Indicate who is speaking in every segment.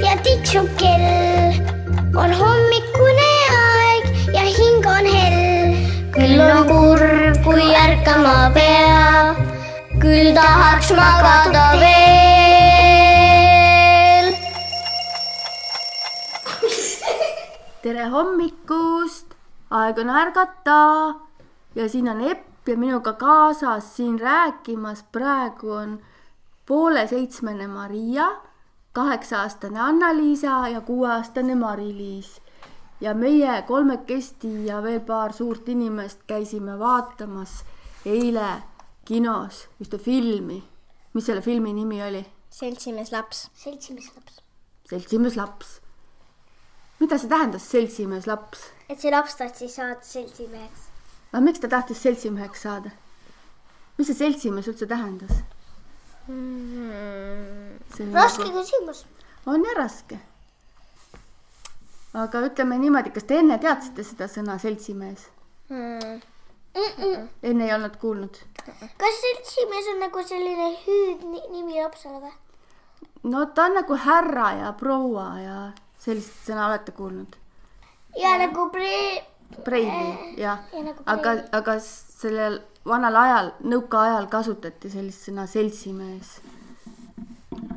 Speaker 1: tiksub kell , on hommikune aeg ja hing on hell . küll on kurb , kui ärkama peab , küll tahaks magada veel .
Speaker 2: tere hommikust , aeg on ärgata ja siin on Epp ja minuga kaasas siin rääkimas praegu on poole seitsmene Maria , kaheksa-aastane Anna-Liisa ja kuueaastane Mari-Liis . ja meie kolmekesti ja veel paar suurt inimest käisime vaatamas eile kinos ühte filmi . mis selle filmi nimi oli ?
Speaker 1: seltsimees laps . seltsimees laps .
Speaker 2: seltsimees laps . mida see tähendas , seltsimees laps ?
Speaker 1: et see laps tahtis saada seltsimeheks .
Speaker 2: aga miks ta tahtis seltsimeheks saada ? mis see seltsimees üldse tähendas ?
Speaker 1: raske küsimus .
Speaker 2: nagu- on ja raske . aga ütleme niimoodi , kas te enne teadsite seda sõna seltsimees ?
Speaker 1: Hmm.
Speaker 2: enne ei olnud kuulnud ?
Speaker 1: kas seltsimees on nagu selline hüüdnimi lapsele või ?
Speaker 2: no ta on nagu härra ja proua ja sellist sõna olete kuulnud ?
Speaker 1: ja nagu pre- ,
Speaker 2: preili , jah
Speaker 1: ja nagu .
Speaker 2: aga , aga sellel vanal ajal , nõukaajal kasutati sellist sõna seltsimees .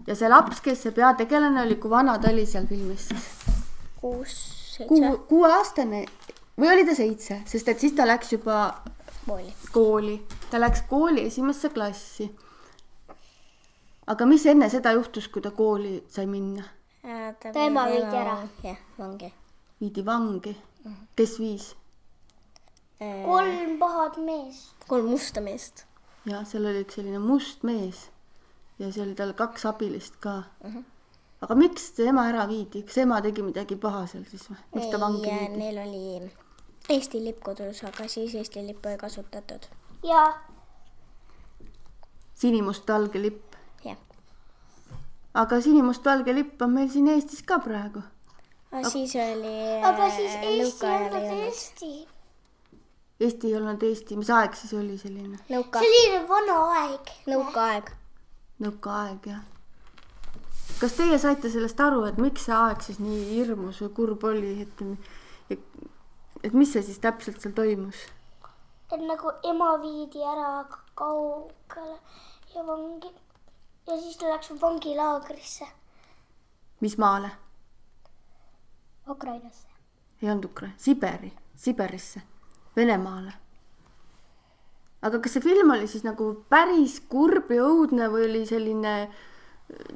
Speaker 2: ja see laps , kes see peategelane oli , kui vana ta oli seal filmis siis ?
Speaker 1: kuus , seitse
Speaker 2: kuue , kuueaastane või oli ta seitse , sest et siis ta läks juba
Speaker 1: kooli .
Speaker 2: kooli , ta läks kooli esimesse klassi . aga mis enne seda juhtus , kui ta kooli sai minna ,
Speaker 3: ta
Speaker 1: Ta ema viidi ära. .
Speaker 3: jah , vangi .
Speaker 2: viidi vangi , kes viis
Speaker 1: kolm pahad meest .
Speaker 3: kolm musta meest .
Speaker 2: ja seal oli üks selline must mees ja seal oli tal kaks abilist ka . aga miks see ema ära viidi , kas ema tegi midagi paha seal siis või , miks ta vangi viidi ?
Speaker 3: Neil oli Eesti lipp kodus , aga siis Eesti lippu ei kasutatud .
Speaker 1: ja
Speaker 2: sinimustvalge lipp ,
Speaker 3: jah .
Speaker 2: aga sinimustvalge lipp on meil siin Eestis ka praegu
Speaker 3: aga siis oli . äh,
Speaker 1: aga siis Eesti Äh, ei olnud . Eesti .
Speaker 2: Eesti ei olnud Eesti , mis aeg siis oli selline ?
Speaker 3: nõuka ,
Speaker 1: selline vana aeg .
Speaker 3: nõukaaeg .
Speaker 2: nõukaaeg jah . kas teie saite sellest aru , et miks see aeg siis nii hirmus või kurb oli , et , et mis see siis täpselt seal toimus ?
Speaker 1: et nagu ema viidi ära kaugele ja vangi ja siis ta läks vangilaagrisse
Speaker 2: mis maale ?
Speaker 1: Ukrainasse .
Speaker 2: ei olnud Ukraina , Siberi , Siberisse , Venemaale . aga kas see film oli siis nagu päris kurb ja õudne või oli selline äh,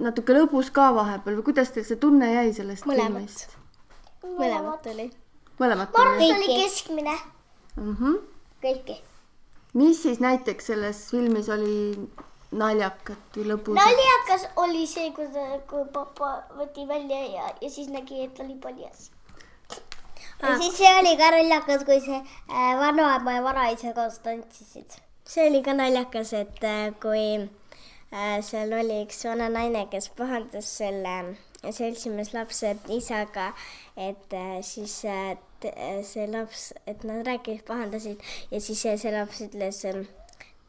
Speaker 2: natuke lõbus ka vahepeal või kuidas teil see tunne jäi sellest
Speaker 3: Mõlemat.
Speaker 2: filmist ?
Speaker 3: mõlemat oli .
Speaker 2: mõlemat .
Speaker 1: ma arvan ,
Speaker 2: mõlemat .
Speaker 1: see oli keskmine .
Speaker 2: Mm -hmm
Speaker 1: kõiki .
Speaker 2: mis siis näiteks selles filmis oli naljakat või lõbusat ?
Speaker 1: naljakas oli see , kui ta , kui papa võeti välja ja , ja siis nägi , et oli paljas .
Speaker 3: Ja
Speaker 1: siis see oli ka naljakas , kui see Äh, vanaema ja vanaisa koos tantsisid .
Speaker 3: see oli ka naljakas , et äh, kui äh, seal oli üks vana naine , kes pahandas selle seltsimees lapse isaga , et äh, siis äh, t- äh, see laps , et nad rääkisid , pahandasid ja siis äh, see, see laps ütles ähm,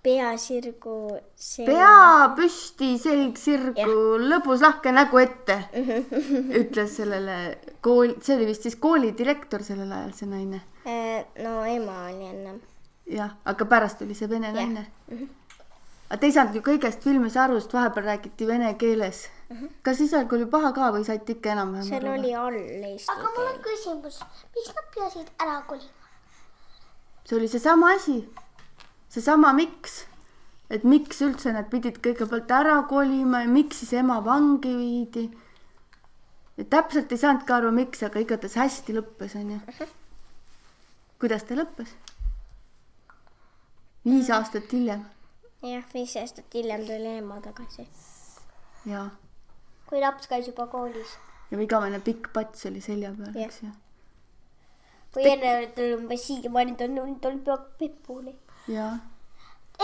Speaker 3: pea sirgu .
Speaker 2: pea püsti , selg sirgu , lõbus lahke nägu ette , ütles sellele kool , see oli vist siis koolidirektor sellel ajal , see naine .
Speaker 3: äh, no ema oli enne .
Speaker 2: jah , aga pärast oli see vene naine .
Speaker 3: Mhm.
Speaker 2: aga te ei saanud ju kõigest filmis aru , sest vahepeal räägiti vene keeles . kas esialgu oli paha ka või saite ikka enam-vähem
Speaker 3: Mhm. seal
Speaker 2: aru ?
Speaker 3: oli all eesti
Speaker 1: aga mul
Speaker 3: keel .
Speaker 1: on küsimus , miks nad peasid ära kolima ?
Speaker 2: see oli seesama asi , seesama miks , et miks üldse nad pidid kõigepealt ära kolima ja miks siis ema vangi viidi . täpselt ei saanudki aru , miks , aga igatahes hästi lõppes ,
Speaker 3: Mhm.
Speaker 2: onju . kuidas ta lõppes ?
Speaker 3: Mm.
Speaker 2: viis aastat hiljem
Speaker 3: jah , viis aastat hiljem tuli ema tagasi .
Speaker 2: ja ,
Speaker 1: kui laps käis juba koolis
Speaker 2: ja igavene pikk pats oli selja peal , eks ju .
Speaker 1: või enne oli umbes siiamaani , ta on , ta oli peaaegu pipuli .
Speaker 2: ja ,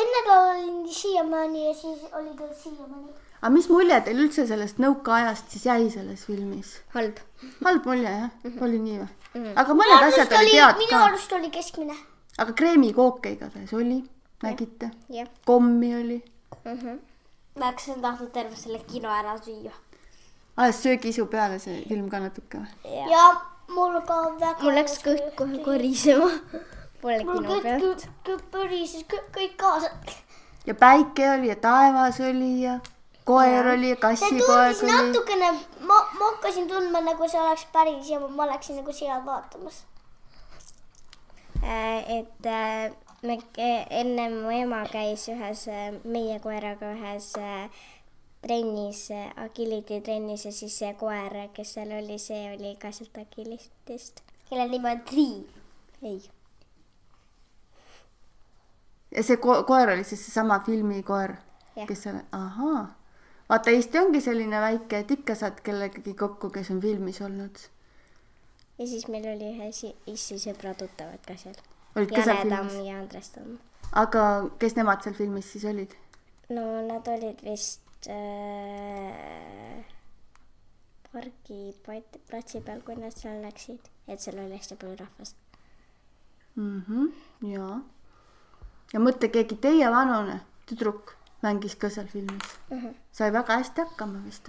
Speaker 1: enne ta oli siiamaani ja siis oli ta siiamaani .
Speaker 2: aga mis mulje teil üldse sellest nõukaajast siis jäi selles filmis ?
Speaker 3: halb .
Speaker 2: halb mulje jah , oli nii või ? aga mõned asjad olid head ka
Speaker 1: minu arust Mhm. oli keskmine .
Speaker 2: aga kreemikooke igatahes oli , nägite ,
Speaker 3: jah .
Speaker 2: kommi oli .
Speaker 1: ma oleks tahtnud terve selle kino ära süüa .
Speaker 2: aa , söö kisu peale see ilm ka natuke või ?
Speaker 1: ja mul ka väga .
Speaker 3: mul läks kõht kohe korisema . Pole
Speaker 1: mul
Speaker 3: kino
Speaker 1: kõik
Speaker 3: peal .
Speaker 1: kü- kü- põrises , kõik siis kaasa .
Speaker 2: ja päike oli ja taevas oli ja koer oli ja
Speaker 1: see
Speaker 2: kassipoeg
Speaker 1: tundus
Speaker 2: oli .
Speaker 1: natukene , ma , ma hakkasin tundma , nagu see oleks päris ja ma läksin niinku nagu seal vaatamas .
Speaker 3: et äh, me enne mu ema käis ühes äh, meie koeraga ühes äh, trennis , agility trennis ja siis see koer , kes seal oli , see oli ka sealt agilitist .
Speaker 1: kelle nimi on Triin .
Speaker 3: ei ,
Speaker 2: ja see ko koer oli siis seesama filmikoer
Speaker 3: Jah. ,
Speaker 2: kes seal , ahaa . vaata , Eesti ongi selline väike , et ikka saad kellegagi kokku , kes on filmis olnud .
Speaker 3: ja siis meil oli ühe si- issi sõbra tuttavad ka seal .
Speaker 2: olid ka seal
Speaker 3: Jane
Speaker 2: filmis
Speaker 3: Tamm ? ja Andres Tamm .
Speaker 2: aga kes nemad seal filmis siis olid ?
Speaker 3: no nad olid vist äh, pargi pat- platsi peal , kui nad seal läksid , et seal oli hästi palju rahvast .
Speaker 2: mm . -hmm, jaa . ja mõtle , keegi teie vanune tüdruk mängis ka seal filmis mm . -hmm. sai väga hästi hakkama vist .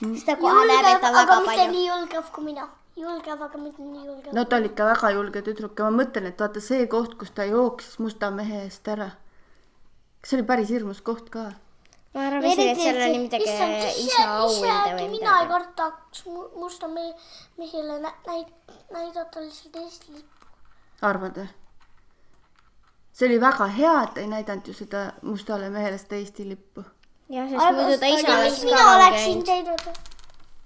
Speaker 3: seda
Speaker 1: nagu julgev , aga niin mitte . nii julgev kui mina . julgev , aga mitte nii julgev .
Speaker 2: no ta oli ikka väga julge tüdruk ja ma mõtlen , et vaata see koht , kus ta jooksis musta mehe eest ära . see oli päris hirmus koht ka .
Speaker 3: ma arvasin , et seal oli midagi isa auhinda
Speaker 1: mina ei
Speaker 3: või midagi .
Speaker 1: kartaks mu- musta mehe , mehele nä- näid- , näidata lihtsalt Eesti lippu .
Speaker 2: arvad või ? see oli väga hea , et ei näidanud ju seda mustale mehele seda Eesti lippu .
Speaker 3: jah , sest muidu ta isa
Speaker 1: mis
Speaker 3: oleks
Speaker 1: mina
Speaker 3: ka
Speaker 1: oleksin
Speaker 3: käinud .
Speaker 1: teinud ?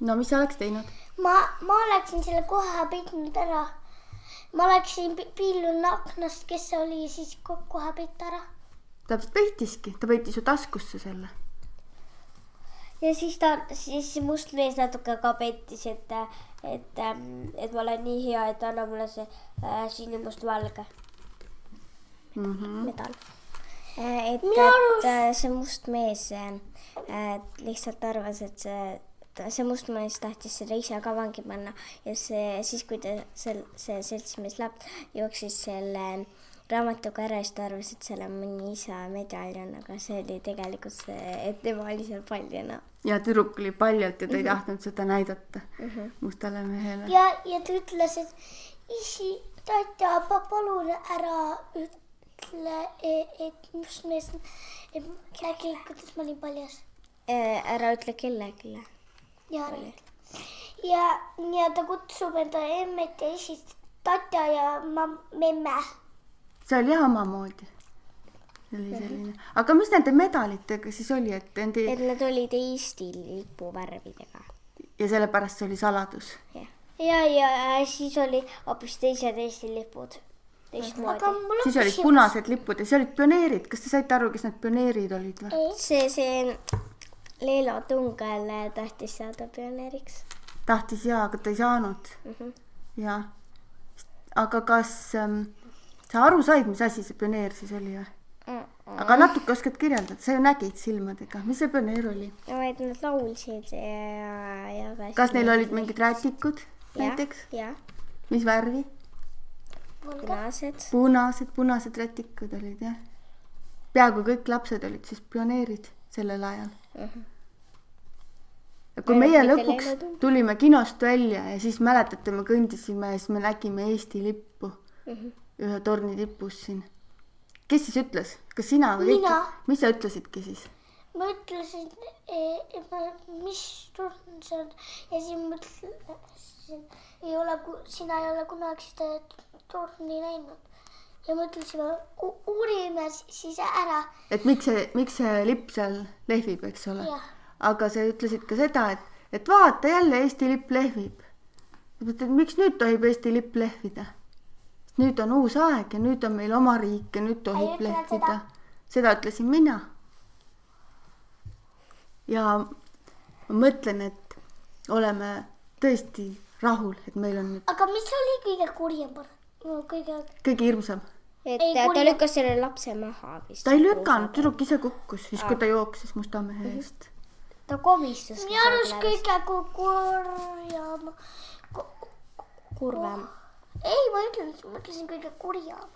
Speaker 2: no mis sa oleks teinud ?
Speaker 1: ma , ma oleksin selle kohe peitnud ära . ma oleksin pi- piilunud aknast , kes see oli , ja siis ko- kohe peita ära .
Speaker 2: ta vist peitiski , ta peitis ju taskusse selle .
Speaker 4: ja siis ta , siis see must mees natuke ka pettis , et , et , et ma olen nii hea , et anna mulle see äh, sinimustvalge .
Speaker 2: Mm -hmm.
Speaker 3: et ,
Speaker 1: arust-
Speaker 3: et äh, see must mees äh, äh, lihtsalt arvas , et see , see must mees tahtis selle isa ka vangi panna ja see , siis kui ta seal , see seltsimees laps jooksis selle raamatuga ära , siis ta arvas , et seal on mõni isa medaljon , aga see oli tegelikult see , et tema oli seal paljana .
Speaker 2: ja tüdruk oli paljalt ja ta ei tahtnud seda näidata mm -hmm. mustale mehele .
Speaker 1: ja , ja ta ütles , et isi , tatja , palun ära ütle , et must mees , et äkki kuidas ma olin paljas
Speaker 3: Äh, ära ütle kellelegi .
Speaker 1: ja ja , ja ta kutsub enda emmet ja isist tatja ja ma , memme .
Speaker 2: see oli jah omamoodi . see oli selline , aga mis nende medalitega siis oli , et nende
Speaker 3: et nad olid Eesti lipu värvidega .
Speaker 2: ja sellepärast see oli saladus .
Speaker 4: ja , ja siis oli hoopis teised Eesti lipud ,
Speaker 1: aga
Speaker 4: teistmoodi .
Speaker 1: mul on
Speaker 2: siis olid punased lipud ja siis olid pioneerid , kas te saite aru , kes need pioneerid olid või ?
Speaker 3: see , see Leelo Tungal äh, tahtis saada pioneeriks .
Speaker 2: tahtis jaa , aga ta ei saanud mm . -hmm. jaa . aga kas ähm, sa aru said , mis asi see pioneer siis oli või ?
Speaker 1: Mm.
Speaker 2: aga natuke oskad kirjeldada , sa ju nägid silmadega , mis see pioneer oli ?
Speaker 3: no et nad laulsid ja , ja ka
Speaker 2: kas neil olid mingid rätikud
Speaker 3: Jah.
Speaker 2: näiteks ?
Speaker 3: jah ,
Speaker 2: mis värvi ?
Speaker 3: punased .
Speaker 2: punased , punased rätikud olid jah . peaaegu kõik lapsed olid siis pioneerid sellel ajal . ja kui
Speaker 3: Ainult
Speaker 2: meie
Speaker 3: mitte
Speaker 2: lõpuks
Speaker 3: leiutud.
Speaker 2: tulime kinost välja ja siis mäletate , me kõndisime ja siis me nägime Eesti lippu ühe torni tipus siin . kes siis ütles , kas sina või
Speaker 1: Mina. ?
Speaker 2: mis sa ütlesidki siis ?
Speaker 1: ma ütlesin , mis turn see on ja siis ma ütlesin , ei ole , sina ei ole kunagi seda torni näinud . ja me ütlesime , uurime si- siis ära
Speaker 2: et miks see , miks see lipp seal lehvib , eks ole
Speaker 1: Jah. .
Speaker 2: aga sa ütlesid ka seda , et , et vaata jälle Eesti lipp lehvib . mõtled , miks nüüd tohib Eesti lipp lehvida ? nüüd on uus aeg ja nüüd on meil oma riik ja nüüd
Speaker 1: Ei
Speaker 2: tohib
Speaker 1: ütle
Speaker 2: lehvida . seda ütlesin mina . ja ma mõtlen , et oleme tõesti rahul , et meil on nüüd
Speaker 1: aga mis oli kõige kurjem part ? no kõige ,
Speaker 2: kõige hirmsam .
Speaker 3: et
Speaker 1: Ei
Speaker 3: ei, ta
Speaker 1: kuulnud.
Speaker 3: lükkas selle lapse maha vist .
Speaker 2: ta ei lükanud , tüdruk ise kukkus siis , kui
Speaker 1: Ah.
Speaker 2: ta jooksis Musta
Speaker 1: Mhm.
Speaker 2: mehe eest
Speaker 4: ta komistas .
Speaker 1: minu arust kõige ku- kurjem ,
Speaker 4: kurvem .
Speaker 1: ei , ma ütlen , ma ütlesin kõige kurjem .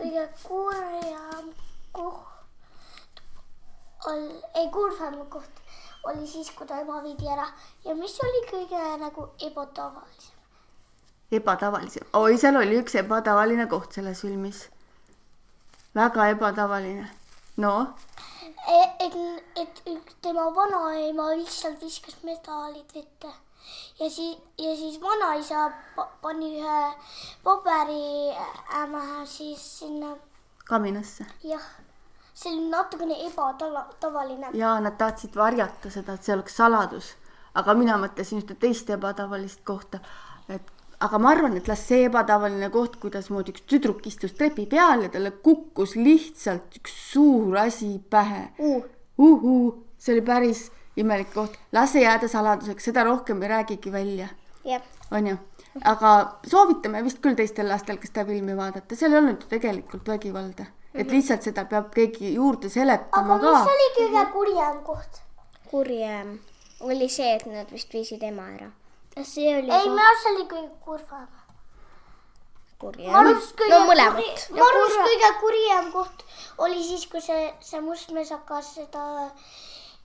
Speaker 1: kõige kurjem koht on ei kurvem koht oli siis , kui ta ema viidi ära ja mis oli kõige nagu ebatavalisem .
Speaker 2: ebatavalisem , oi , seal oli üks ebatavaline koht selles filmis . väga ebatavaline . no
Speaker 1: Eh, et , et üks tema vanaema lihtsalt viskas medalid vette ja siis , ja siis vanaisa pa- pani ühe paberi äh, siis sinna ,
Speaker 2: kaminasse
Speaker 1: jah , see oli natukene ebatavaline .
Speaker 2: ja nad tahtsid varjata seda , et see oleks saladus , aga mina mõtlesin ühte teist ebatavalist kohta , et aga ma arvan , et las see ebatavaline koht , kuidasmoodi üks tüdruk istus trepi peal ja talle kukkus lihtsalt üks suur asi pähe uh. . uhuu , see oli päris imelik koht , las see jääda saladuseks , seda rohkem ei räägigi välja
Speaker 3: jah ,
Speaker 2: onju , aga soovitame vist küll teistel lastel ka seda filmi vaadata , seal ei olnud ju tegelikult vägivalda , et lihtsalt seda peab keegi juurde seletama
Speaker 1: aga
Speaker 2: ka .
Speaker 1: mis oli kõige kurjem koht ?
Speaker 3: kurjem oli see , et nad vist viisid ema ära .
Speaker 4: see oli
Speaker 1: ei , minu arust see oli kõige kurvem .
Speaker 3: kurjem .
Speaker 1: ma arust kõige
Speaker 3: no mõlemat .
Speaker 1: ma arust kõige kurjem koht oli siis , kui see , see must mees hakkas seda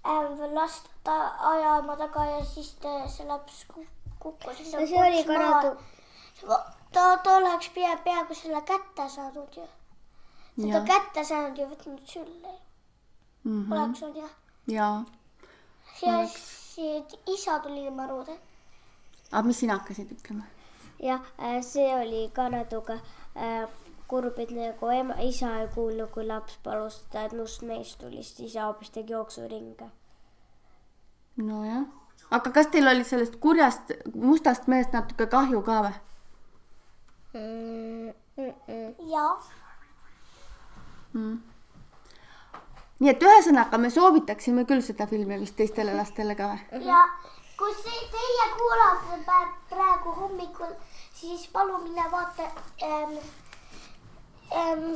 Speaker 1: ähm, last ta ajama taga ja siis ta, see laps ku- kukkus .
Speaker 4: No see oli ka natu- .
Speaker 1: ta , ta oleks pea , peaaegu selle kätte saanud ju . seda
Speaker 2: Jaa.
Speaker 1: kätte saanud ja võtnud sülle mm . -hmm. oleks olnud jah .
Speaker 2: jaa ,
Speaker 1: ja siis isa tuli tema ruude .
Speaker 2: aga mis sina hakkasid ütlema ?
Speaker 4: jah , see oli ka natuke äh, kurb , et nagu ema , isa ei kuulnud , kui laps palus seda , et must mees tuli , siis isa hoopis tegi jooksuringe .
Speaker 2: nojah , aga kas teil oli sellest kurjast mustast mehest natuke kahju ka või ?
Speaker 1: jaa .
Speaker 2: nii et ühesõnaga me soovitaksime küll seda filmi vist teistele lastele ka või ?
Speaker 1: ja kui see teie kuulate pä- praegu hommikul , siis palun mine vaata ähm, . Ähm,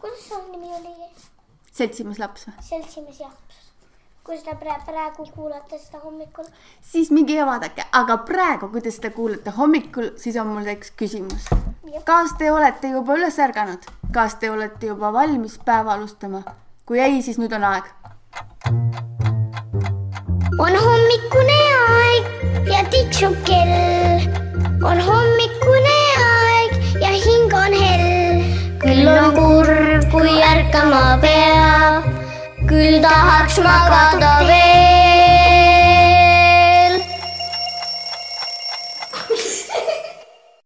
Speaker 1: kuidas selle nimi oli ,
Speaker 2: seltsimees laps või ?
Speaker 1: seltsimees Jaanus ? kui seda pra- praegu kuulate , seda hommikul .
Speaker 2: siis minge ja vaadake , aga praegu , kui te seda kuulete hommikul , siis on mul üks küsimus . kas te olete juba üles ärganud , kas te olete juba valmis päeva alustama ? kui ei , siis nüüd on aeg .
Speaker 1: on hommikune aeg ja tiksub kell . on hommikune aeg ja hing on hell . küll on kurb , kui ärkama peab , küll tahaks magada veel .